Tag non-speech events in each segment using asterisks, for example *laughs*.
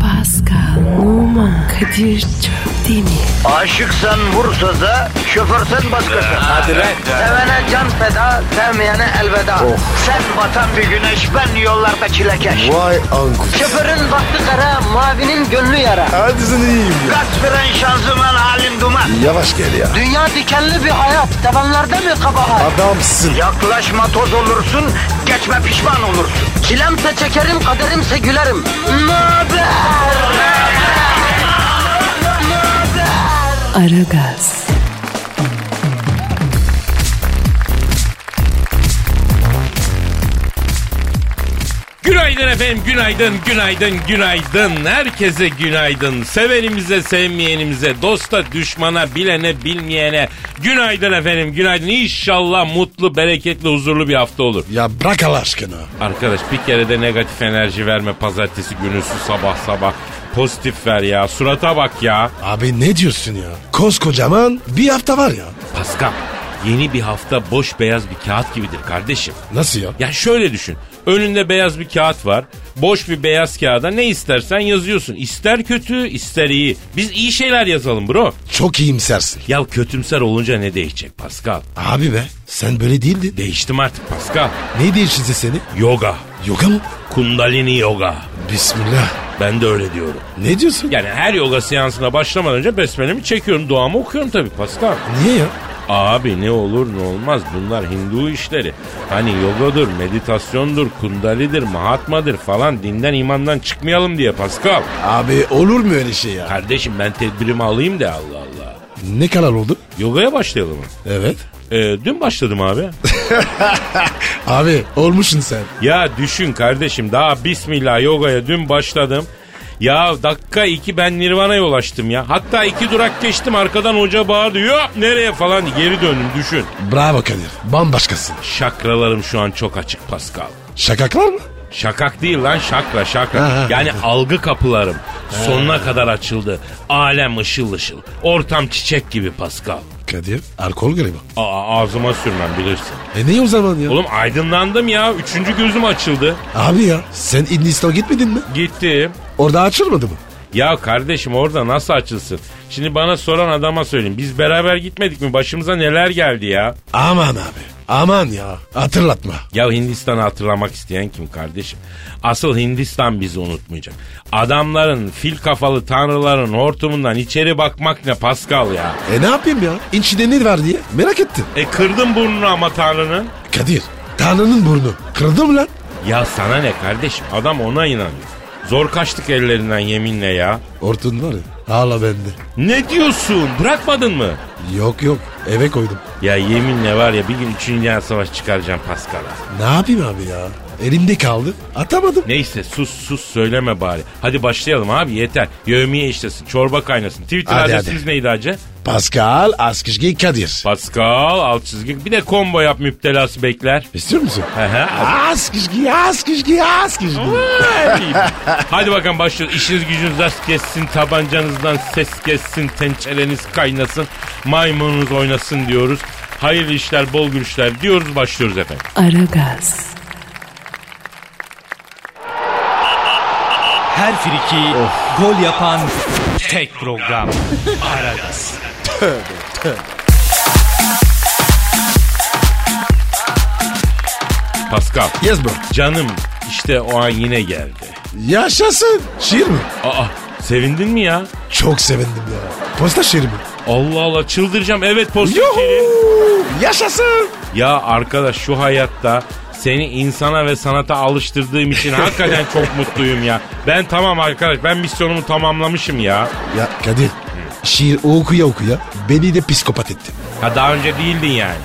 Pascal, Oman, Kadir çok değil mi? Aşıksan vursa da şoförsen başkasın. Hadi lan. Sevene can feda, sevmeyene elveda. Sen batan bir güneş, ben yollarda çilekeş. Vay anku. Şoförün baktı kara, mavinin gönlü yara. Hadi sen iyiyim ya. Kasperen şanzıman halin duman. Yavaş gel ya. Dünya dikenli bir hayat, sevenlerde mi kabahar? Adamsın. Yaklaşma toz olursun, geçme pişman olursun. Çilemse çekerim, kaderimse gülerim. Möber! Aragaz, Günaydın efendim, günaydın, günaydın, günaydın. Herkese günaydın. Sevenimize, sevmeyenimize, dosta, düşmana, bilene, bilmeyene. Günaydın efendim, günaydın. İnşallah mutlu, bereketli, huzurlu bir hafta olur. Ya bırak Allah aşkına. Arkadaş bir kere de negatif enerji verme pazartesi günüsü sabah sabah. Pozitif ver ya, surata bak ya. Abi ne diyorsun ya? Koskocaman bir hafta var ya. Paskal, yeni bir hafta boş beyaz bir kağıt gibidir kardeşim. Nasıl ya? Ya şöyle düşün. Önünde beyaz bir kağıt var. Boş bir beyaz kağıda ne istersen yazıyorsun. İster kötü, ister iyi. Biz iyi şeyler yazalım bro. Çok iyimsersin. Ya kötümser olunca ne değişecek Pascal? Abi be sen böyle değildin. Değiştim artık Pascal. Ne değişti seni? Yoga. Yoga mı? Kundalini yoga. Bismillah. Ben de öyle diyorum. Ne diyorsun? Yani her yoga seansına başlamadan önce besmelemi çekiyorum. Duamı okuyorum tabii Pascal. Niye ya? Abi ne olur ne olmaz bunlar Hindu işleri. Hani yogadır, meditasyondur, kundalidir, mahatmadır falan dinden imandan çıkmayalım diye Pascal. Abi olur mu öyle şey ya? Kardeşim ben tedbirimi alayım da Allah Allah. Ne kadar oldu? Yogaya başlayalım mı? Evet. Ee, dün başladım *laughs* abi. Abi olmuşsun sen. ya düşün kardeşim daha bismillah yogaya dün başladım. Ya dakika iki ben Nirvana'ya ulaştım ya. Hatta iki durak geçtim arkadan hoca bağırdı. Yok nereye falan diye geri döndüm düşün. Bravo Kadir. Bambaşkasın. Şakralarım şu an çok açık Pascal. Şakaklar mı? Şakak değil lan şakra Ha, ha, şakra. Yani algı kapılarım sonuna kadar açıldı. Alem ışıl ışıl. Ortam çiçek gibi Pascal. Kadir alkol galiba. Aa, ağzıma sürmem bilirsin. E ne o zaman ya? Oğlum aydınlandım ya. Üçüncü gözüm açıldı. Abi ya sen Hindistan'a gitmedin mi? Gittim. Orada açılmadı mı? Ya kardeşim orada nasıl açılsın? Şimdi bana soran adama söyleyeyim. Biz beraber gitmedik mi? Başımıza neler geldi ya? Aman abi. Aman ya. Hatırlatma. Ya Hindistan'ı hatırlamak isteyen kim kardeşim? Asıl Hindistan bizi unutmayacak. Adamların, fil kafalı tanrıların hortumundan içeri bakmak ne Pascal ya? E ne yapayım ya? İçinde ne var diye merak ettim. E kırdın burnunu ama tanrının. Kadir. Tanrı'nın burnu. Kırıldı mı lan? Ya sana ne kardeşim? Adam ona inanıyor. Zor kaçtık ellerinden yeminle ya. Ortun var ya. Hala bende. Ne diyorsun? Bırakmadın mı? Yok yok. Eve koydum. Ya yeminle var ya bir gün 3. Dünya Savaşı çıkaracağım Paskal'a. Ne yapayım abi ya? Elimde kaldı. Atamadım. Neyse sus sus söyleme bari. Hadi başlayalım abi yeter. Yevmiye işlesin, çorba kaynasın. Twitter Hadi, adresimiz neydi hacı? Pascal Askışgi Kadir. Pascal alt çizgi. Bir de combo yap müptelası bekler. İstiyor musun? Ehe. Askışgi, Askışgi, Askışgi. Vay. Hadi bakalım başlıyoruz. İşiniz gücünüz rast kessin, tabancanızdan ses kessin, tençereniz kaynasın, maymununuz oynasın diyoruz. Hayırlı işler, bol gülüşler diyoruz, başlıyoruz efendim. Aragaz, Her friki gol yapan tek program. Pascal, Yes bro. canım işte o an yine geldi. Yaşasın. Şiir mi? Aa, sevindin mi ya? Çok sevindim ya. Posta şiir mi? Allah Allah çıldıracağım. Evet pozitif şiirin. Yuhuu. Yaşasın. Ya arkadaş şu hayatta seni insana ve sanata alıştırdığım için hakikaten çok mutluyum ya. Ben tamam arkadaş ben misyonumu tamamlamışım ya. Ya Kadir şiir okuya okuya beni de psikopat etti. Ha daha önce değildin yani.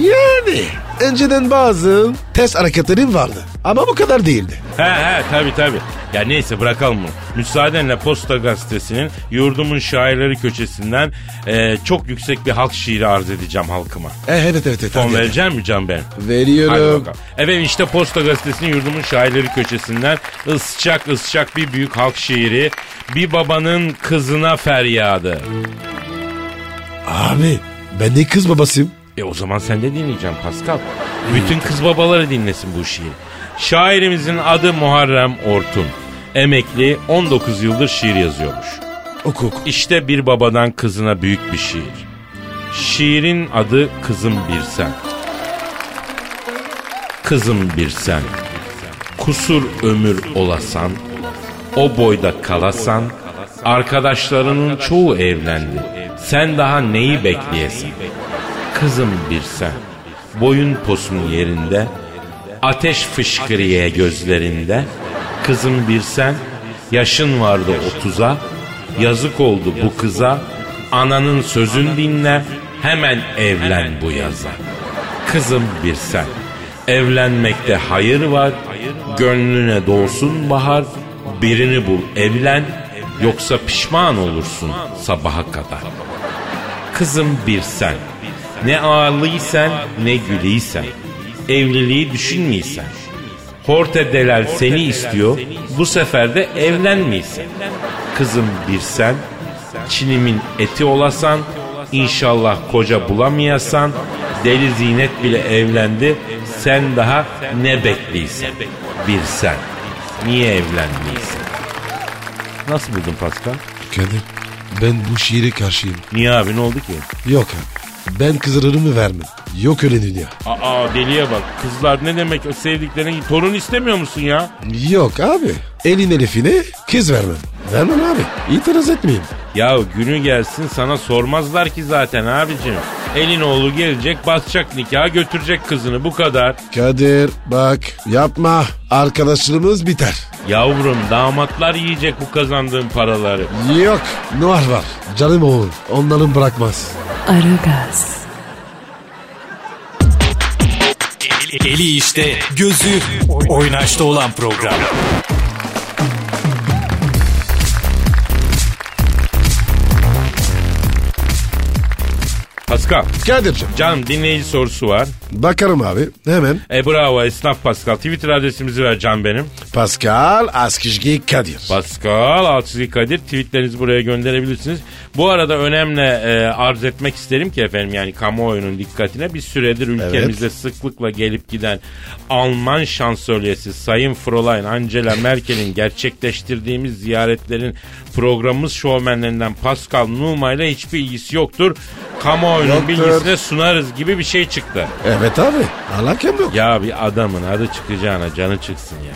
Yani önceden bazı test hareketlerim vardı ama bu kadar değildi. He he tabi tabi. Ya neyse bırakalım bunu. Müsaadenle Posta Gazetesi'nin yurdumun şairleri köşesinden e, çok yüksek bir halk şiiri arz edeceğim halkıma. E, evet evet evet. Son hadi. vereceğim mi Can ben? Hadi Veriyorum. bakalım. Efendim işte Posta Gazetesi'nin yurdumun şairleri köşesinden ısçak ısçak bir büyük halk şiiri. Bir babanın kızına feryadı. Abi ben de kız babasıyım. E o zaman sen de dinleyeceğim Pascal. Bütün kız babaları dinlesin bu şiiri. Şairimizin adı Muharrem Ortun. Emekli 19 yıldır şiir yazıyormuş. Oku oku. İşte bir babadan kızına büyük bir şiir. Şiirin adı Kızım Bir Sen. Kızım bir sen, kusur ömür olasan, o boyda kalasan, arkadaşlarının çoğu evlendi. Sen daha neyi bekleyesin? Kızım bir sen, boyun posun yerinde, ateş fışkırıya gözlerinde. Kızım bir sen, yaşın vardı otuza, yazık oldu bu kıza, ananın sözün dinle, hemen evlen bu yaza. Kızım bir sen, evlenmekte hayır var, gönlüne dolsun bahar, birini bul evlen, yoksa pişman olursun sabaha kadar. Kızım bir sen. Ne ağırlıysen ne gülüysen. Evliliği düşünmeysen. Hortedeler seni istiyor. Bu sefer de evlenmeysen. Kızım bir sen. Çinimin eti olasan. İnşallah koca bulamayasan. Deli Zinet bile evlendi. Sen daha ne bekliysen. Bir sen. Niye evlenmeysen? Nasıl buldun Pascal? Kadir ben bu şiire karşıyım. Niye abi ne oldu ki? Yok abi. Ben kızlarımı vermem. Yok öyle dünya. Aa deliye bak. Kızlar ne demek o sevdiklerine torun istemiyor musun ya? Yok abi. Elin elifine kız vermem. Vermem abi. İtiraz etmeyeyim. Ya günü gelsin sana sormazlar ki zaten abicim. Elin oğlu gelecek basacak nikah götürecek kızını bu kadar. Kadir bak yapma. Arkadaşlığımız biter. Yavrum damatlar yiyecek bu kazandığın paraları. Yok. Noir var. Canım oğlum. Onların bırakmaz. Aragaz, Eli işte, gözü oynaşta olan program. Pascal Kadir'cim. canım dinleyici sorusu var. Bakarım abi. Hemen. E bravo esnaf Pascal Twitter adresimizi ver can benim. Pascal Askizgi Kadir. Pascal Altçizgi Kadir tweetlerinizi buraya gönderebilirsiniz. Bu arada önemli e, arz etmek isterim ki efendim yani kamuoyunun dikkatine bir süredir ülkemizde sıklıkla gelip giden Alman şansölyesi Sayın Fräulein Angela Merkel'in gerçekleştirdiğimiz ziyaretlerin programımız şovmenlerinden Pascal Numa ile hiçbir ilgisi yoktur. Kamuoyunun Yoktur. bilgisine sunarız gibi bir şey çıktı. Evet abi. Alakam yok. Ya bir adamın adı çıkacağına canı çıksın ya.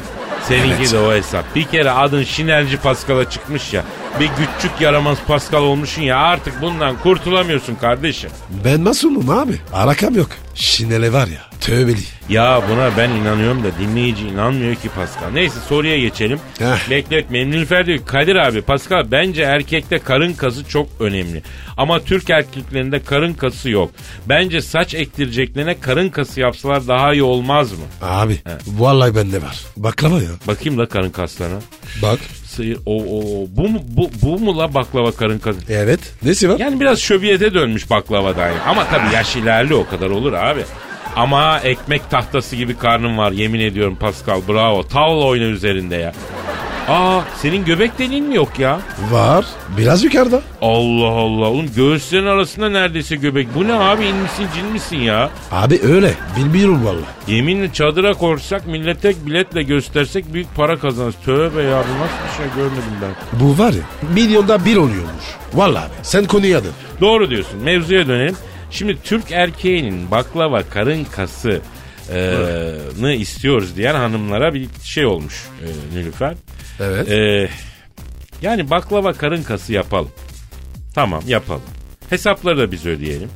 Seninki de o hesap. Bir kere adın Şinerci Paskal'a çıkmış ya. Bir güççük yaramaz Paskal olmuşsun ya. Artık bundan kurtulamıyorsun kardeşim. Ben masumum abi. Alakam yok. Şinele var ya. Tövbeli. Ya buna ben inanıyorum da dinleyici inanmıyor ki Pascal. Neyse soruya geçelim. Heh. Bekletmeyelim. Nilüfer diyor ki, Kadir abi Pascal bence erkekte karın kası çok önemli. Ama Türk erkeklerinde karın kası yok. Bence saç ektireceklerine karın kası yapsalar daha iyi olmaz mı? Abi. Vallahi bende var. Baklava ya. Bakayım da karın kaslarına. Bak. Sıyır, o, o, o. Bu, mu, bu, bu mu la baklava karın kadın? Evet. Nesi var? Yani biraz şöbiyete dönmüş baklava dahi. Ama tabii yaş ilerli o kadar olur abi. Ama ekmek tahtası gibi karnım var yemin ediyorum Pascal bravo. Tavla oyna üzerinde ya. Aa senin göbek deliğin mi yok ya? Var. Biraz yukarıda. Allah Allah oğlum göğüslerin arasında neredeyse göbek. Bu ne abi in misin cin misin ya? Abi öyle. Bilmiyorum valla. Yeminle çadıra korsak millete biletle göstersek büyük para kazanırız. Tövbe ya bu nasıl bir şey görmedim ben. Bu var ya. Milyonda bir oluyormuş. Vallahi abi. Sen konuyu adın. Doğru diyorsun. Mevzuya dönelim. Şimdi Türk erkeğinin baklava karın kası e, nı istiyoruz diyen hanımlara bir şey olmuş e, Nilüfer. Evet. E, yani baklava karın kası yapalım. Tamam yapalım. Hesapları da biz ödeyelim.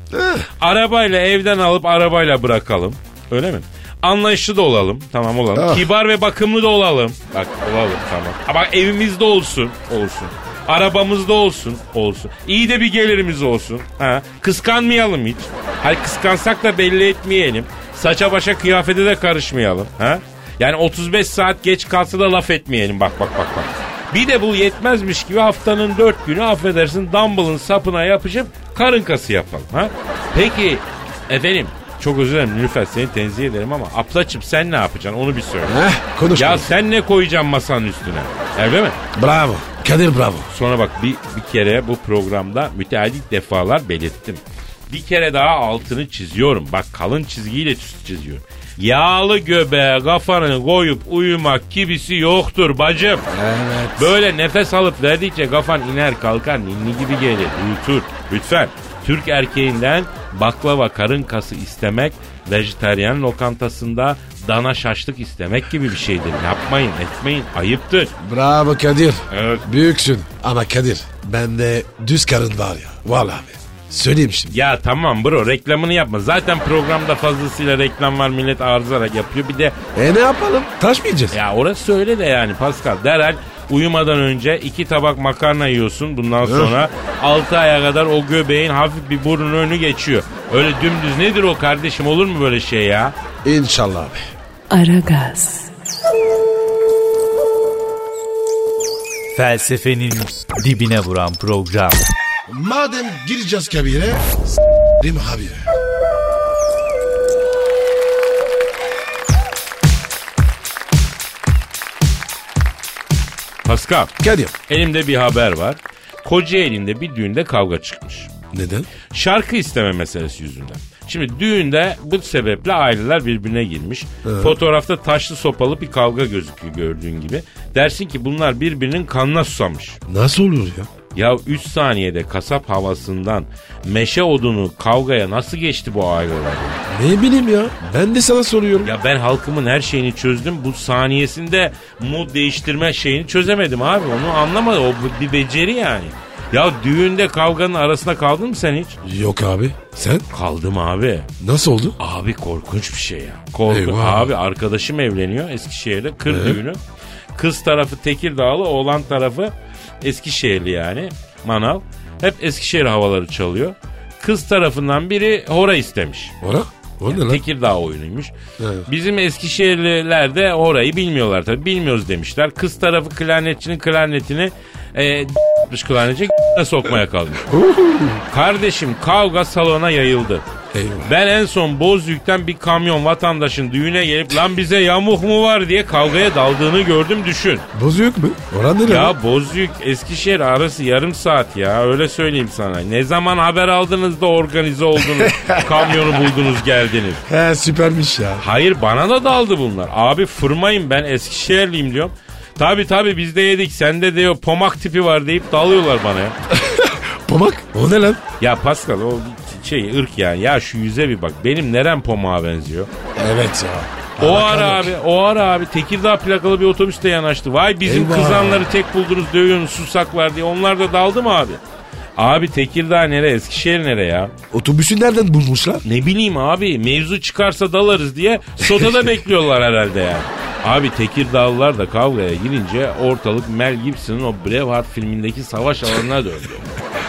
Arabayla evden alıp arabayla bırakalım. Öyle mi? Anlayışlı da olalım. Tamam olalım. Ah. Kibar ve bakımlı da olalım. Bak olalım tamam. Ama evimizde olsun. Olsun. Arabamızda olsun. Olsun. İyi de bir gelirimiz olsun. Ha. Kıskanmayalım hiç. Hayır kıskansak da belli etmeyelim. Saça başa kıyafete de karışmayalım. Ha. Yani 35 saat geç kalsa da laf etmeyelim. Bak bak bak bak. Bir de bu yetmezmiş gibi haftanın dört günü affedersin dumbbell'ın sapına yapışıp karın kası yapalım. Ha? Peki efendim çok özür dilerim Nilüfer seni tenzih ederim ama aplaçım sen ne yapacaksın onu bir söyle. Heh, konuş. Ya konuş. sen ne koyacaksın masanın üstüne? Öyle mi? Bravo. Kadir bravo. Sonra bak bir, bir kere bu programda müteahhit defalar belirttim. Bir kere daha altını çiziyorum. Bak kalın çizgiyle çiz- çiziyorum. Yağlı göbeğe kafanı koyup uyumak gibisi yoktur bacım. Evet. Böyle nefes alıp verdikçe kafan iner kalkar ninni gibi gelir uyutur. Lütfen Türk erkeğinden baklava karın kası istemek vejetaryen lokantasında dana şaşlık istemek gibi bir şeydir. Yapmayın etmeyin ayıptır. Bravo Kadir. Evet. Büyüksün. Ama Kadir bende düz karın var ya. Vallahi abi. Söyleyeyim şimdi. Ya tamam bro reklamını yapma. Zaten programda fazlasıyla reklam var millet arızarak yapıyor. Bir de E ne yapalım? Taş mı yiyeceğiz? Ya orası öyle de yani Pascal. Derhal uyumadan önce iki tabak makarna yiyorsun. Bundan sonra altı aya kadar o göbeğin hafif bir burnun önü geçiyor. Öyle dümdüz nedir o kardeşim olur mu böyle şey ya? İnşallah abi. Aragaz, Felsefenin dibine vuran program. Madem gireceğiz kabire. S***im habire. Pascal Kadir. elimde bir haber var. Kocaeli'nde bir düğünde kavga çıkmış. Neden? Şarkı isteme meselesi yüzünden. Şimdi düğünde bu sebeple aileler birbirine girmiş. Fotoğrafta taşlı sopalı bir kavga gözüküyor gördüğün gibi. Dersin ki bunlar birbirinin kanına susamış. Nasıl olur ya? Ya 3 saniyede kasap havasından meşe odunu kavgaya nasıl geçti bu aileler? Ne bileyim ya. Ben de sana soruyorum. Ya ben halkımın her şeyini çözdüm. Bu saniyesinde mood değiştirme şeyini çözemedim abi. Onu anlamadım. O bir beceri yani. Ya düğünde kavganın arasında kaldın mı sen hiç? Yok abi. Sen? Kaldım abi. Nasıl oldu? Abi korkunç bir şey ya. Korkunç. Eyvah. Abi arkadaşım evleniyor Eskişehir'de kır düğünü. Kız tarafı Tekirdağlı, oğlan tarafı Eskişehirli yani. Manav. Hep Eskişehir havaları çalıyor. Kız tarafından biri hora istemiş. Ora? O ne lan? Tekirdağ oyunuymuş. Evet. Bizim Eskişehirliler de orayı bilmiyorlar tabii. Bilmiyoruz demişler. Kız tarafı klarnetçinin klarnetini e, klarnetçi sokmaya *laughs* kalmış. Kardeşim kavga salona yayıldı. Eyvah. Ben en son Bozüyük'ten bir kamyon vatandaşın düğüne gelip lan bize yamuk mu var diye kavgaya daldığını gördüm düşün. Bozuyor mu? Oran ne lan? Ya Bozüyük Eskişehir arası yarım saat ya öyle söyleyeyim sana. Ne zaman haber aldınız da *laughs* organize oldunuz kamyonu buldunuz geldiniz. He süpermiş ya. Hayır bana da daldı bunlar. Abi fırmayın ben Eskişehirliyim diyorum. Tabi tabi biz de yedik sende diyor pomak tipi var deyip dalıyorlar bana ya. Pomak. O ne lan? Ya Pascal o şey ırk yani ya şu yüze bir bak benim nerem pomağa benziyor. Evet ya. O Alakalı ara yok. abi, o ara abi Tekirdağ plakalı bir otobüste yanaştı. Vay bizim Eyvah. kızanları tek buldunuz dövüyorsunuz susaklar diye. Onlar da daldı mı abi? Abi Tekirdağ nere, Eskişehir nere ya? Otobüsü nereden bulmuşlar? Ne bileyim abi mevzu çıkarsa dalarız diye sotada bekliyorlar herhalde yani. Abi Tekirdağlılar da kavgaya girince ortalık Mel Gibson'ın o Braveheart filmindeki savaş alanına döndü.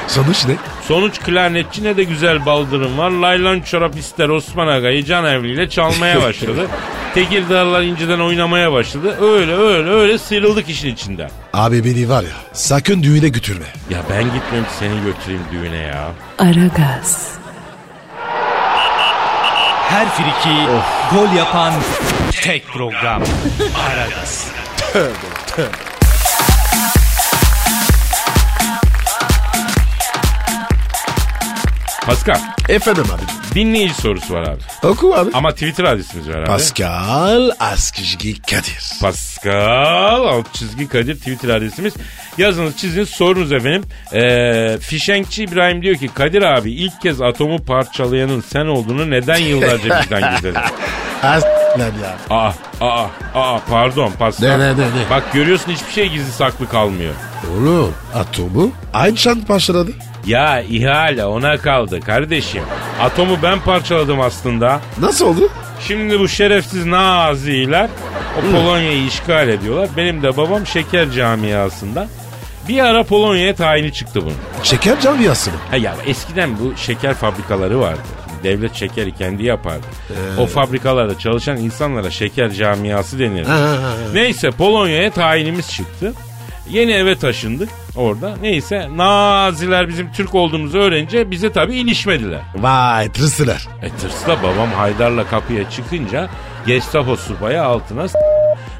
Sonuç ne? Sonuç klarnetçi ne de güzel baldırım var. Laylan çorap ister Osman Aga'yı Can Evli ile çalmaya başladı. Tekirdağlılar inceden oynamaya başladı. Öyle öyle öyle sıyrıldık işin içinden. Abi beni var ya sakın düğüne götürme. Ya ben gitmiyorum ki seni götüreyim düğüne ya. Aragaz, Her friki gol yapan tek program. Aragaz. Pascal Efendim abi. dinleyici sorusu var abi. Oku abi. Ama Twitter adresimiz var abi. Pascal Askizgi Kadir. Pascal alt çizgi Kadir Twitter adresimiz. Yazınız çiziniz sorunuz efendim. Ee, Fişenkçi İbrahim diyor ki Kadir abi ilk kez atomu parçalayanın sen olduğunu neden yıllarca bizden gizledin? As lan ya. Aa, aa, aa pardon Pascal. Ne, ne, ne, ne? Bak görüyorsun hiçbir şey gizli saklı kalmıyor. Oğlum atomu Einstein parçaladı. Ya ihale ona kaldı kardeşim. Atomu ben parçaladım aslında. Nasıl oldu? Şimdi bu şerefsiz naziler o Polonya'yı işgal ediyorlar. Benim de babam şeker camiasında. Bir ara Polonya'ya tayini çıktı bunun. Şeker camiası mı? Ha ya eskiden bu şeker fabrikaları vardı. Devlet şekeri kendi yapardı. O fabrikalarda çalışan insanlara şeker camiası denirdi. Neyse Polonya'ya tayinimiz çıktı. Yeni eve taşındık orada. Neyse Naziler bizim Türk olduğumuzu öğrenince bize tabii ilişmediler. Vay tırsılar. E tırsla babam Haydar'la kapıya çıkınca Gestapo subayı altına s-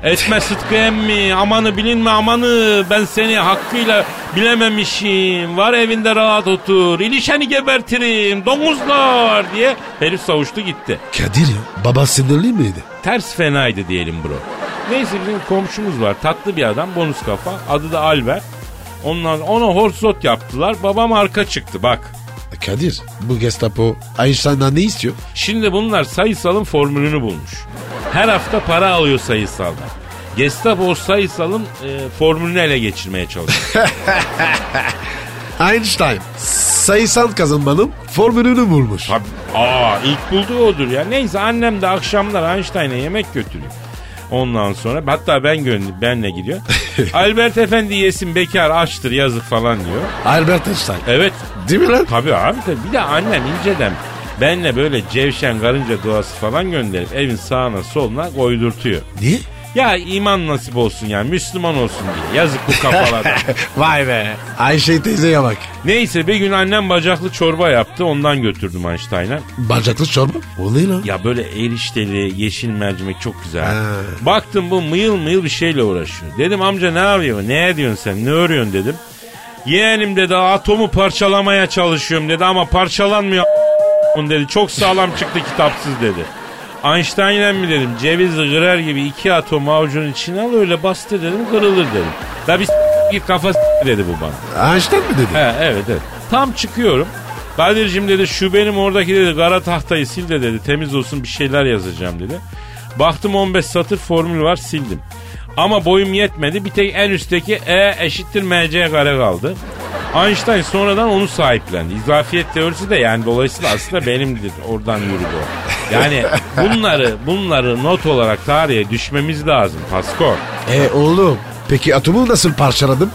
Etme Sıtkı emmi amanı bilinme amanı ben seni hakkıyla bilememişim. Var evinde rahat otur ilişeni gebertirim domuzlar diye herif savuştu gitti. Kadir ya baba sinirli miydi? Ters fenaydı diyelim bro. Neyse bizim komşumuz var tatlı bir adam bonus kafa adı da Albert. Onlar ona horsot yaptılar babam arka çıktı bak. Kadir bu Gestapo Einstein'dan ne istiyor? Şimdi bunlar sayısalın formülünü bulmuş. Her hafta para alıyor sayısaldan. Gestapo o sayısalın e, formülünü ele geçirmeye çalışıyor. Einstein sayısal kazanmanın formülünü bulmuş. Tabii. Aa ilk bulduğu odur ya. Neyse annem de akşamlar Einstein'a yemek götürüyor. Ondan sonra hatta ben gönlü benle gidiyor. Albert Efendi yesin bekar açtır yazık falan diyor. Albert Einstein. Evet Değil mi lan? Tabii abi tabii. Bir de annem inceden benle böyle cevşen karınca duası falan gönderip evin sağına soluna koydurtuyor. Niye? Ya iman nasip olsun yani Müslüman olsun diye. Yazık bu kafalara. Vay be. Ayşe teyzeye bak. Neyse bir gün annem bacaklı çorba yaptı ondan götürdüm Einstein'a. Bacaklı çorba. O ne lan? Ya böyle erişteli yeşil mercimek çok güzel. Ha. Baktım bu mıyıl mıyıl bir şeyle uğraşıyor. Dedim amca ne yapıyor ne ediyorsun sen ne örüyorsun dedim. Yeğenim dedi atomu parçalamaya çalışıyorum dedi ama parçalanmıyor a**ın dedi. Çok sağlam çıktı kitapsız dedi. Einstein'le mi dedim cevizi kırar gibi iki atom avucunun içine al öyle bastır dedim kırılır dedim. Da bir s- git kafa s- dedi bu bana. Einstein mi dedi? He evet evet. Tam çıkıyorum. Kadir'cim dedi şu benim oradaki dedi kara tahtayı sil de dedi temiz olsun bir şeyler yazacağım dedi. Baktım 15 satır formül var sildim. Ama boyum yetmedi bir tek en üstteki E eşittir MC kare kaldı. Einstein sonradan onu sahiplendi. İzafiyet teorisi de yani dolayısıyla aslında benimdir oradan yürüdü o. Yani bunları bunları not olarak tarihe düşmemiz lazım Pasko. E oğlum peki atomu nasıl parçaladım?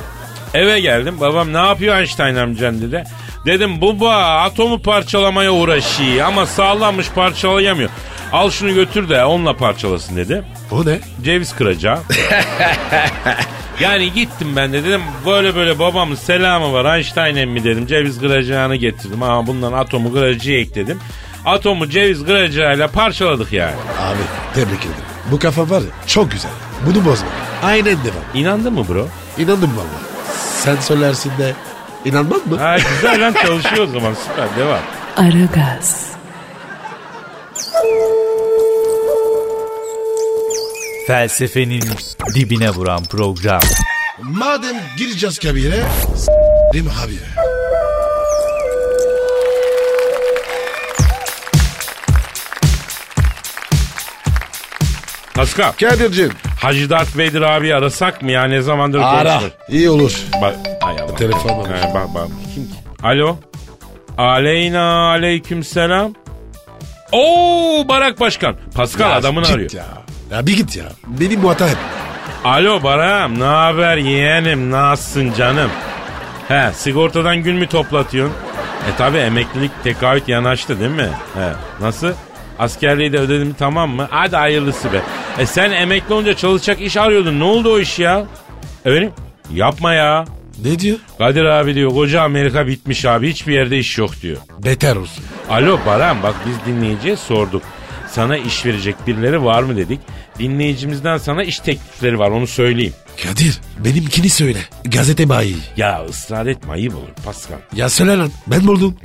Eve geldim. Babam ne yapıyor Einstein amcan dedi. Dedim baba atomu parçalamaya uğraşıyor ama sağlammış parçalayamıyor. Al şunu götür de onunla parçalasın dedi. O ne? Ceviz kıracağı. yani gittim ben de dedim böyle böyle babamın selamı var Einstein emmi dedim. Ceviz kıracağını getirdim ama bundan atomu kıracağı ekledim. Atomu ceviz kıracağıyla parçaladık yani. Abi tebrik ederim. Bu kafa var ya çok güzel. Bunu bozma. Aynen devam. İnandın mı bro? İnandım valla. Sen söylersin de inanmaz mı? Ha, güzel lan çalışıyor o zaman süper devam. Aragaz, Felsefenin dibine vuran program. Madem gireceğiz kabire s**rim abi. Pascal. Kadir'cim. Hacı Dert Vader abi arasak mı ya ne zamandır Ara. konuşmuyoruz? İyi olur. Bak, ay Allah. Telefon almış. Ha, bak, bak. Kim ki? Alo. Aleyna aleyküm selam. Oo Barak Başkan. Pascal Ya adamını git arıyor. Ya. ya bir git ya. Beni muhatap et. Alo Barak'ım ne haber yeğenim nasılsın canım? He sigortadan gün mü toplatıyorsun? E tabi emeklilik tekaüt yanaştı değil mi? He nasıl? Askerliği de ödedim tamam mı? Hadi hayırlısı be. E sen emekli olunca çalışacak iş arıyordun. Ne oldu o iş ya? Efendim? Yapma ya. Ne diyor? Kadir abi diyor koca Amerika bitmiş abi hiçbir yerde iş yok diyor. Beter olsun. Alo Baran bak biz dinleyiciye sorduk. Sana iş verecek birileri var mı dedik. Dinleyicimizden sana iş teklifleri var onu söyleyeyim. Kadir benimkini söyle. Gazete bayi. Ya ısrar etme ayıp olur Pascal. Ya söyle lan ben buldum.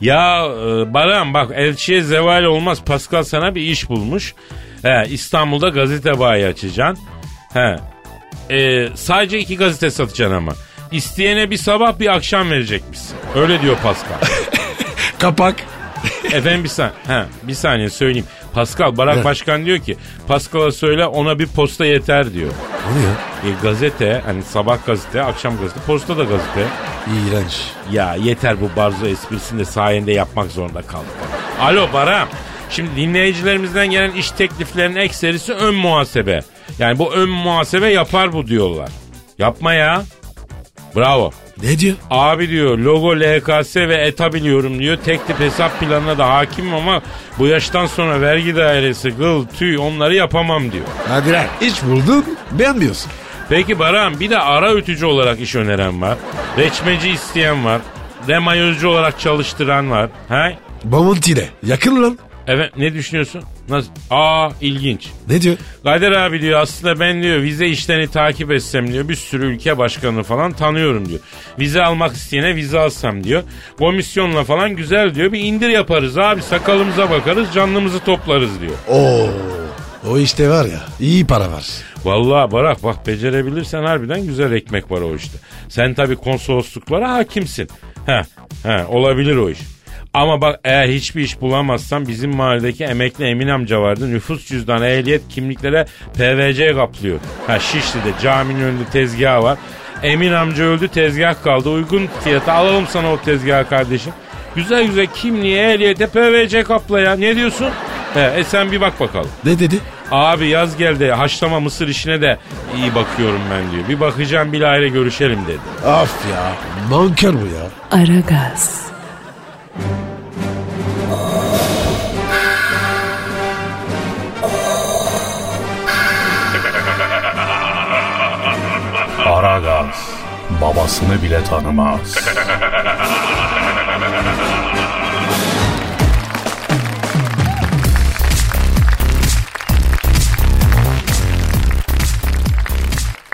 Ya e, Baran bak elçiye zeval olmaz. Pascal sana bir iş bulmuş. He, İstanbul'da gazete bayi açacaksın. He. E, sadece iki gazete satacaksın ama. İsteyene bir sabah bir akşam verecekmişsin. Öyle diyor Pascal. Kapak. Efendim bir saniye, ha, bir saniye söyleyeyim. Pascal Barak Evet. Başkan diyor ki Pascal'a söyle ona bir posta yeter diyor. O ne ya? E, gazete hani sabah gazete akşam gazete posta da gazete. İğrenç. Ya yeter bu barzo esprisini de sayende yapmak zorunda kaldık. Alo Barak. Şimdi dinleyicilerimizden gelen iş tekliflerinin ekserisi ön muhasebe. Yani bu ön muhasebe yapar bu diyorlar. Yapma ya. Bravo. Ne diyor? Abi diyor logo LKS ve ETA biliyorum diyor. Tek tip hesap planına da hakimim ama bu yaştan sonra vergi dairesi, gıl, tüy onları yapamam diyor. Hadi lan. Hiç buldun beğenmiyorsun. Peki Baran bir de ara ötücü olarak iş öneren var. Reçmeci isteyen var. Remayözcü olarak çalıştıran var. He? Bomonti'de yakın lan. Evet ne düşünüyorsun? Nasıl? Aa ilginç. Ne diyor? Kadir abi diyor aslında ben diyor vize işlerini takip etsem diyor bir sürü ülke başkanını falan tanıyorum diyor. Vize almak isteyene vize alsam diyor. Komisyonla falan güzel diyor bir indir yaparız abi sakalımıza bakarız canlımızı toplarız diyor. Oo. O işte var ya iyi para var. Vallahi Barak bak becerebilirsen harbiden güzel ekmek var o işte. Sen tabii konsolosluklara hakimsin. He, he olabilir o iş. Ama bak eğer hiçbir iş bulamazsan bizim mahalledeki emekli Emin amca vardı. Nüfus cüzdanı, ehliyet, kimliklere PVC kaplıyor. Ha Şişli'de caminin önünde tezgahı var. Emin amca öldü tezgah kaldı. Uygun fiyata alalım sana o tezgahı kardeşim. Güzel güzel kimliğe, ehliyete PVC kapla ya. Ne diyorsun? He, e sen bir bak bakalım. Ne dedi? Abi yaz geldi haşlama mısır işine de iyi bakıyorum ben diyor. Bir bakacağım bir aile görüşelim dedi. Af ya. Nankör bu ya. Aragaz, Aragaz babasını bile tanımaz.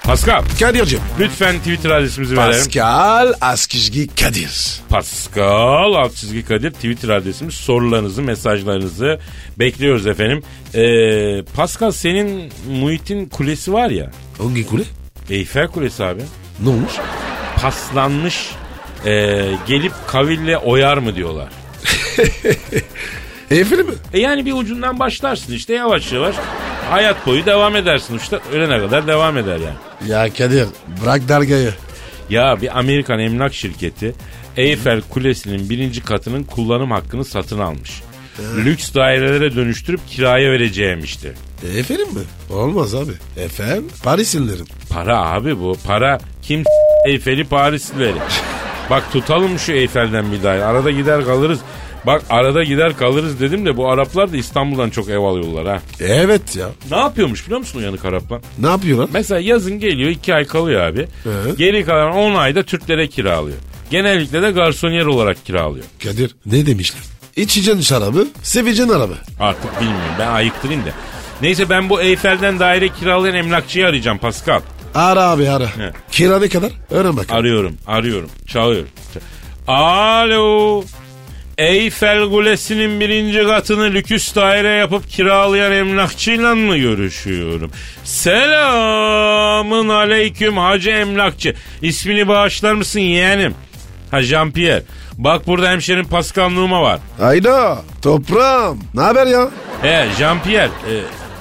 Pascal Kadir'cim. lütfen Twitter adresimizi verelim. Pascal Askizgi Kadir. Pascal alt çizgi Kadir Twitter adresimiz sorularınızı mesajlarınızı bekliyoruz efendim. Ee, Pascal senin Muhit'in kulesi var ya Hangi kule? Eyfel Kulesi abi Ne olmuş? paslanmış ee, gelip kaville oyar mı diyorlar. Efil mi? E yani bir ucundan başlarsın işte yavaş yavaş hayat boyu devam edersin işte ölene kadar devam eder yani. Ya Kadir bırak dargayı. Ya bir Amerikan emlak şirketi Eyfel Kulesi'nin birinci katının kullanım hakkını satın almış. Lüks dairelere dönüştürüp kiraya vereceğimişti. Efendim mi? Olmaz abi. Efendim Parisinlerin. Para abi bu. Para kim s- Eyfel'i Parislileri. Bak tutalım şu Eyfel'den bir daire. Arada gider kalırız. Bak arada gider kalırız dedim de bu Araplar da İstanbul'dan çok ev alıyorlar ha. Evet ya. Ne yapıyormuş biliyor musun uyanık Araplar? Ne yapıyorlar? Mesela yazın geliyor iki ay kalıyor abi. Evet. Geri kalan 10 ayda Türklere kiralıyor. Genellikle de garsoniyer olarak kiralıyor. Kadir ne demişler? İçeceksin şarabı, seveceksin arabı. Artık bilmiyorum ben ayıktırayım da. Neyse ben bu Eyfel'den daire kiralayan emlakçıyı arayacağım Pascal. Ara abi ara. He. Kira ne kadar? Öğren bakalım. Arıyorum, arıyorum, çalıyorum. Alo. Eyfel Kulesi'nin birinci katını lüküs daire yapıp kiralayan emlakçıyla mı görüşüyorum? Selamın aleyküm hacı emlakçı. İsmini bağışlar mısın yeğenim? Ha Jean-Pierre. Bak burada hemşerin paskanlığıma var. Ayda toprağım. Ne haber ya? He Jean-Pierre. e,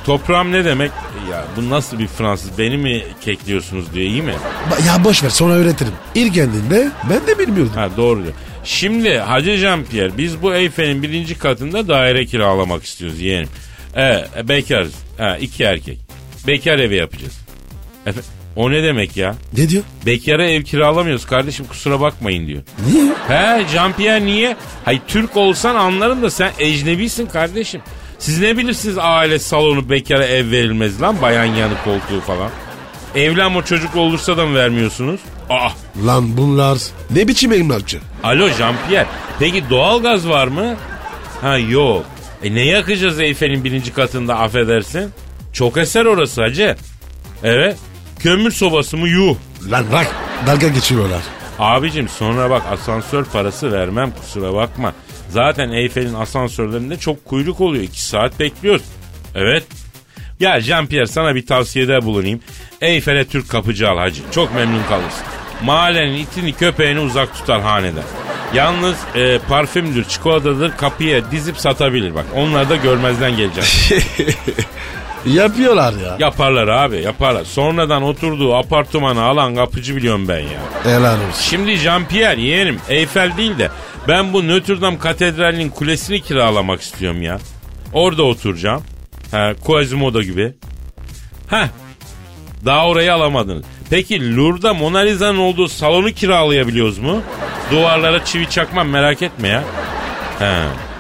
toprağım ne demek? Ya bu nasıl bir Fransız? Beni mi kekliyorsunuz diye iyi mi? Ba- ya boş ver sonra öğretirim. İlk geldiğinde ben de bilmiyordum. Ha doğru diyor. Şimdi Hacı Jean-Pierre biz bu Eyfel'in birinci katında daire kiralamak istiyoruz yeğenim. E, e, bekarız. Ha, iki erkek. Bekar evi yapacağız. Efe, o ne demek ya? Ne diyor? Bekara ev kiralamıyoruz kardeşim kusura bakmayın diyor. Niye? He Jean-Pierre niye? Hay Türk olsan anlarım da sen ecnebisin kardeşim. Siz ne bilirsiniz aile salonu bekara ev verilmez lan bayan yanı koltuğu falan. Evlenme çocuk olursa da mı vermiyorsunuz? Aa Lan bunlar ne biçim emlakçı? Alo Jean-Pierre. Peki doğalgaz var mı? Ha yok. E ne yakacağız Eyfel'in birinci katında affedersin? Çok eser orası hacı. Evet. Kömür sobası mı? Yuh. Lan bak dalga geçiyorlar. Abicim sonra bak asansör parası vermem kusura bakma. Zaten Eyfel'in asansörlerinde çok kuyruk oluyor. İki saat bekliyoruz. Evet. Ya Jean-Pierre sana bir tavsiyede bulunayım. Eyfel'e Türk kapıcı al hacı. Çok memnun kalırsın. Mahallenin itini köpeğini uzak tutar haneden. Yalnız e, parfümdür, çikolatadır kapıya dizip satabilir bak. Onlar da görmezden gelecek. Yapıyorlar ya. yaparlar abi yaparlar. Sonradan oturduğu apartmanı alan kapıcı biliyorum ben ya. Helal olsun. Şimdi Jean-Pierre yeğenim Eyfel değil de ben bu Notre Dame Katedrali'nin kulesini kiralamak istiyorum ya. Orada oturacağım. Ha, Quasimodo gibi. Ha, daha orayı alamadınız. Peki Lourdes'da Mona Lisa'nın olduğu salonu kiralayabiliyoruz mu? Duvarlara çivi çakmam merak etme ya. Ha.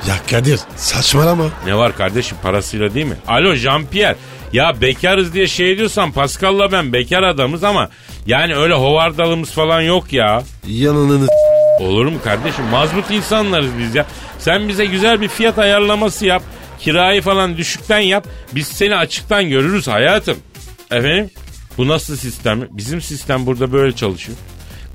Ya Kadir saçmalama. Ne var kardeşim parasıyla değil mi? Alo Jean-Pierre. Ya bekarız diye şey diyorsan Pascal'la ben bekar adamız ama yani öyle hovardalımız falan yok ya. Yanını Olur mu kardeşim? Mazbut insanlarız biz ya. Sen bize güzel bir fiyat ayarlaması yap. Kirayı falan düşükten yap. Biz seni açıktan görürüz hayatım. Efendim? Bu nasıl sistem? Bizim sistem burada böyle çalışıyor.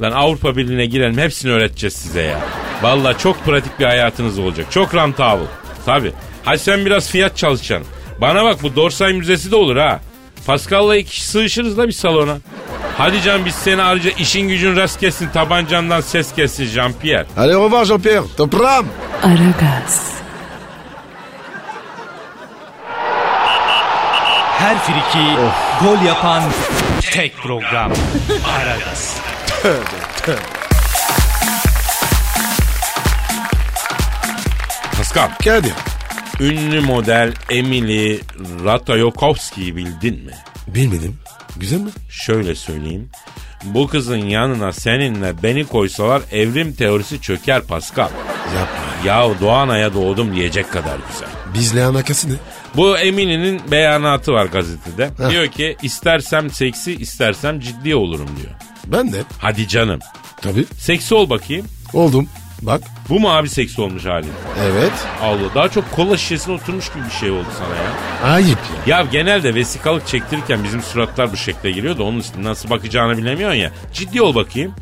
Lan Avrupa Birliği'ne girelim hepsini öğreteceğiz size ya. Valla çok pratik bir hayatınız olacak. Çok rantavul. Tabi. Hadi sen biraz fiyat çalışacaksın. Bana bak bu Dorsay Müzesi de olur ha. Pascal'la iki kişi sığışırız da bir salona. Hadi can biz seni ayrıca işin gücün rast kessin tabancandan ses kessin Jean-Pierre. Allez au revoir Jean-Pierre. Toprağım. Aragaz, Her friki gol yapan tek program. Aragaz. Pascal Kadir. ünlü model Emily Ratajkowski'yi bildin mi? Bilmedim. Güzel mi? Şöyle söyleyeyim. Bu kızın yanına seninle beni koysalar evrim teorisi çöker Pascal. Yapma. Ya Doğanay'a doğdum diyecek kadar güzel. Bizle alakası ne? Bu Emine'nin beyanatı var gazetede. Diyor ki istersem seksi istersem ciddi olurum diyor. Ben de. Hadi canım. Tabii. Seksi ol bakayım. Oldum. Bak. Bu mu abi seksi olmuş halin? Evet. Allah daha çok kola şişesine oturmuş gibi bir şey oldu sana ya. Ayıp ya. Ya genelde vesikalık çektirirken bizim suratlar bu şekle giriyor da onun için nasıl bakacağını bilemiyorsun ya. Ciddi ol bakayım.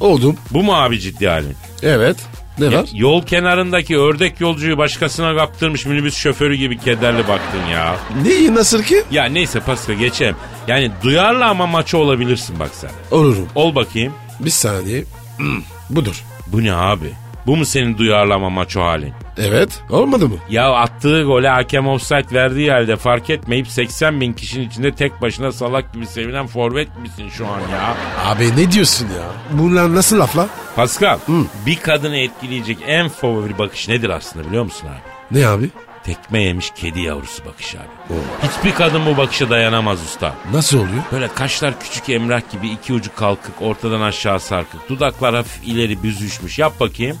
Oldum. Bu mu abi ciddi halin? Evet. Ne Ya var? yol kenarındaki ördek yolcuyu başkasına kaptırmış minibüs şoförü gibi kederli baktın ya. Neyi nasıl ki? Ya neyse Pascal geçelim. Yani duyarlı ama maçı olabilirsin bak sen. Olurum. Ol bakayım. Bir saniye. Hmm, Budur. Bu ne abi? Bu mu senin duyarlı ama maço halin? Evet. Olmadı mı? Ya attığı gole hakem offside verdiği halde fark etmeyip 80 bin kişinin içinde tek başına salak gibi sevinen forvet misin şu an ya? Abi ne diyorsun ya? Bunlar nasıl lafla? Pascal bir kadını etkileyecek en favori bakış nedir aslında biliyor musun abi? Ne abi? Tekme yemiş kedi yavrusu bakışı abi. Hiçbir kadın bu bakışa dayanamaz usta. Nasıl oluyor? Böyle kaşlar küçük emrak gibi iki ucu kalkık ortadan aşağı sarkık. Dudaklar hafif ileri büzüşmüş. Yap bakayım.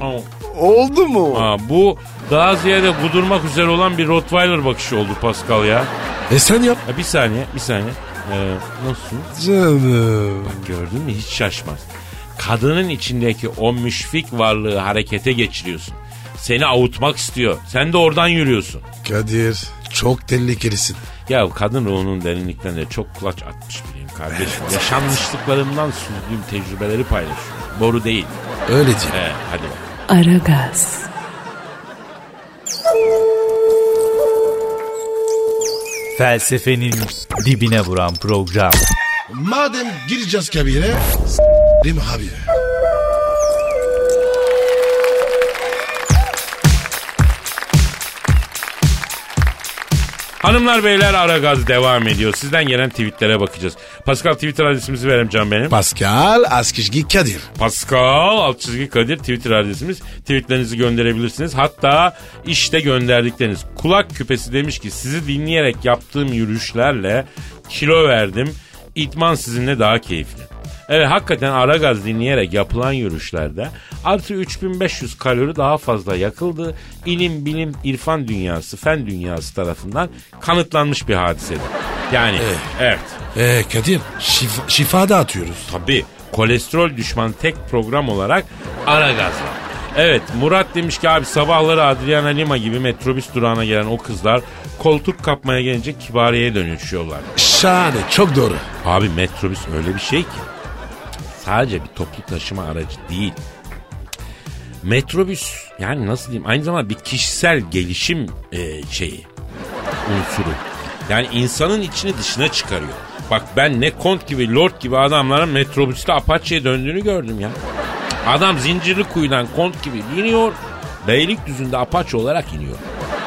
Aa, Oldu mu? Aa, bu daha ziyade kudurmak üzere olan bir Rottweiler bakışı oldu Pascal ya. E sen yap. Ha, bir saniye bir saniye. Ee, nasıl? Canım. Gördün mü hiç şaşmaz. Kadının içindeki o müşfik varlığı harekete geçiriyorsun. Seni avutmak istiyor. Sen de oradan yürüyorsun. Kadir çok tehlikelisin. Ya kadın ruhunun derinliklerine çok kulaç atmış biriyim kardeşim. Yaşanmışlıklarımdan sürdüğüm tecrübeleri paylaşıyorum. Boru değil. Öyle değil. He, hadi bak. Aragaz, Felsefenin dibine vuran program. Madem gireceğiz kabire s**rim abi. Hanımlar beyler ara gaz devam ediyor. Sizden gelen tweetlere bakacağız. Pascal Twitter adresimizi verelim can benim. Pascal Askizgi Kadir. Pascal alt çizgi Kadir Twitter adresimiz. Tweetlerinizi gönderebilirsiniz. Hatta işte gönderdikleriniz. Kulak küpesi demiş ki sizi dinleyerek yaptığım yürüyüşlerle kilo verdim. İtman sizinle daha keyifli. Evet hakikaten ara gaz dinleyerek yapılan yürüyüşlerde artı 3500 kalori daha fazla yakıldı. İlim, bilim, irfan dünyası, fen dünyası tarafından kanıtlanmış bir hadisedir. Yani evet. Ee Kadir şif- şifa da atıyoruz. Tabii. Kolesterol düşman tek program olarak ara gaz var. Evet Murat demiş ki abi sabahları Adriana Lima gibi metrobüs durağına gelen o kızlar koltuk kapmaya gelince kibariyeye dönüşüyorlar. Şahane çok doğru. Abi metrobüs öyle bir şey ki sadece bir toplu taşıma aracı değil. Metrobüs yani nasıl diyeyim aynı zamanda bir kişisel gelişim e, şeyi unsuru. Yani insanın içini dışına çıkarıyor. Bak ben ne kont gibi lord gibi adamların metrobüste Apache'ye döndüğünü gördüm ya. Adam zincirli kuyudan kont gibi iniyor. Beylikdüzü'nde Apache olarak iniyor.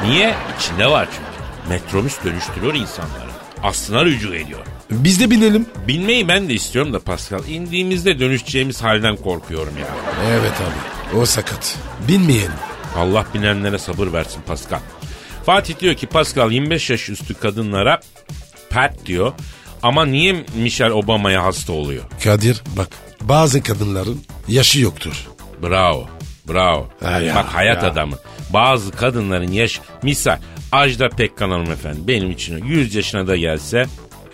Niye? İçinde var çünkü. Metrobüs dönüştürüyor insanları. Aslına rücu ediyor. Biz de binelim. Binmeyi ben de istiyorum da Pascal. İndiğimizde dönüşeceğimiz halden korkuyorum ya. Evet abi o sakat. Binmeyelim. Allah bilenlere sabır versin Pascal. Fatih diyor ki Pascal 25 yaş üstü kadınlara pert diyor. Ama niye Michelle Obama'ya hasta oluyor? Kadir bak bazı kadınların yaşı yoktur. Bravo. Bravo. Ha ya, Bak hayat ya. adamı. Bazı kadınların yaş... Misal Ajda Pekkan hanımefendi benim için 100 yaşına da gelse...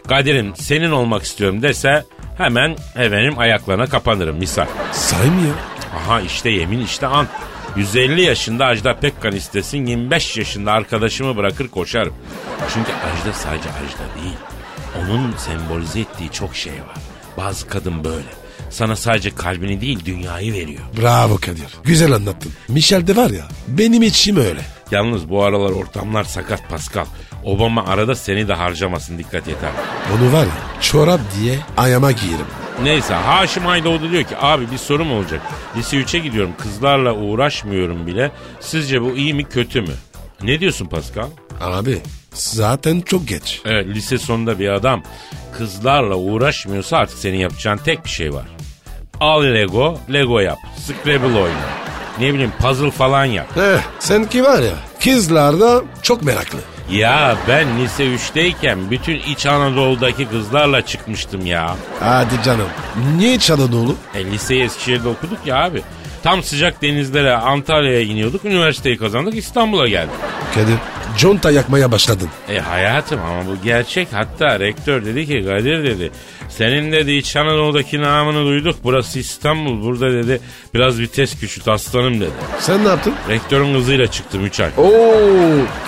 Kadir'im senin olmak istiyorum dese hemen efendim ayaklarına kapanırım misal. Saymıyor. Aha işte yemin işte an. 150 yaşında Ajda Pekkan istesin 25 yaşında arkadaşımı bırakır koşarım. Çünkü Ajda sadece Ajda değil. Onun sembolize ettiği çok şey var. Bazı kadın böyle. Sana sadece kalbini değil dünyayı veriyor. Bravo Kadir. Güzel anlattın. Michel de var ya benim içim öyle. Yalnız bu aralar ortamlar sakat Pascal. Obama arada seni de harcamasın dikkat yeter. Onu var ya çorap diye ayama giyerim. Neyse Haşim Aydoğdu diyor ki abi bir sorum olacak. Lise 3'e gidiyorum kızlarla uğraşmıyorum bile. Sizce bu iyi mi kötü mü? Ne diyorsun Pascal? Abi zaten çok geç. Evet lise sonunda bir adam kızlarla uğraşmıyorsa artık senin yapacağın tek bir şey var. Al Lego, Lego yap. Scrabble oyna. Ne bileyim puzzle falan yap. Eh, senki var ya kızlarda çok meraklı. Ya ben lise 3'teyken bütün İç Anadolu'daki kızlarla çıkmıştım ya. Hadi canım. Niye İç Anadolu? E, liseyi Eskişehir'de okuduk ya abi. Tam sıcak denizlere Antalya'ya iniyorduk. Üniversiteyi kazandık İstanbul'a geldik. Kadir conta yakmaya başladın. E hayatım ama bu gerçek. Hatta rektör dedi ki Kadir dedi. Senin dedi İç Anadolu'daki namını duyduk. Burası İstanbul. Burada dedi biraz vites küçült aslanım dedi. Sen ne yaptın? Rektörün kızıyla çıktım 3 ay. Oo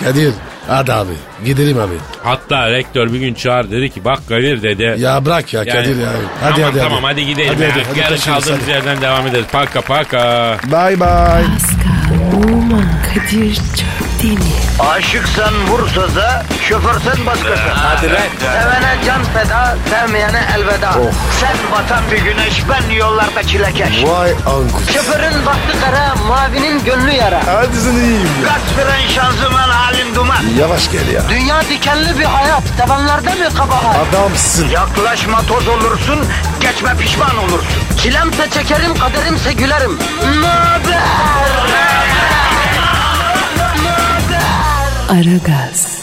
Kadir hadi abi gidelim abi. Hatta rektör bir gün çağır dedi ki bak Kadir dedi. Ya bırak ya Kadir ya. Hadi tamam hadi hadi. tamam hadi gidelim. Hadi, ya. hadi, hadi, Yarın kaçıyoruz, kaldığımız hadi. yerden devam ederiz. Paka paka. Bye bye. Pascal, Oman, Kadir çok değil mi? Aşıksan vursa da, şoförsen başkasın. Hadi Sevene can feda, sevmeyene elveda. Sen batan bir güneş, ben yollarda çilekeş. Vay anku. Şoförün baktı kara, mavinin gönlü yara. Hadi sen iyiyim ya. Kasperen şanzıman halin duman. Yavaş gel ya. Dünya dikenli bir hayat, sevenlerde mi kabahar? Adamsın. Yaklaşma toz olursun, geçme pişman olursun. Çilemse çekerim, kaderimse gülerim. Möber! Aragaz.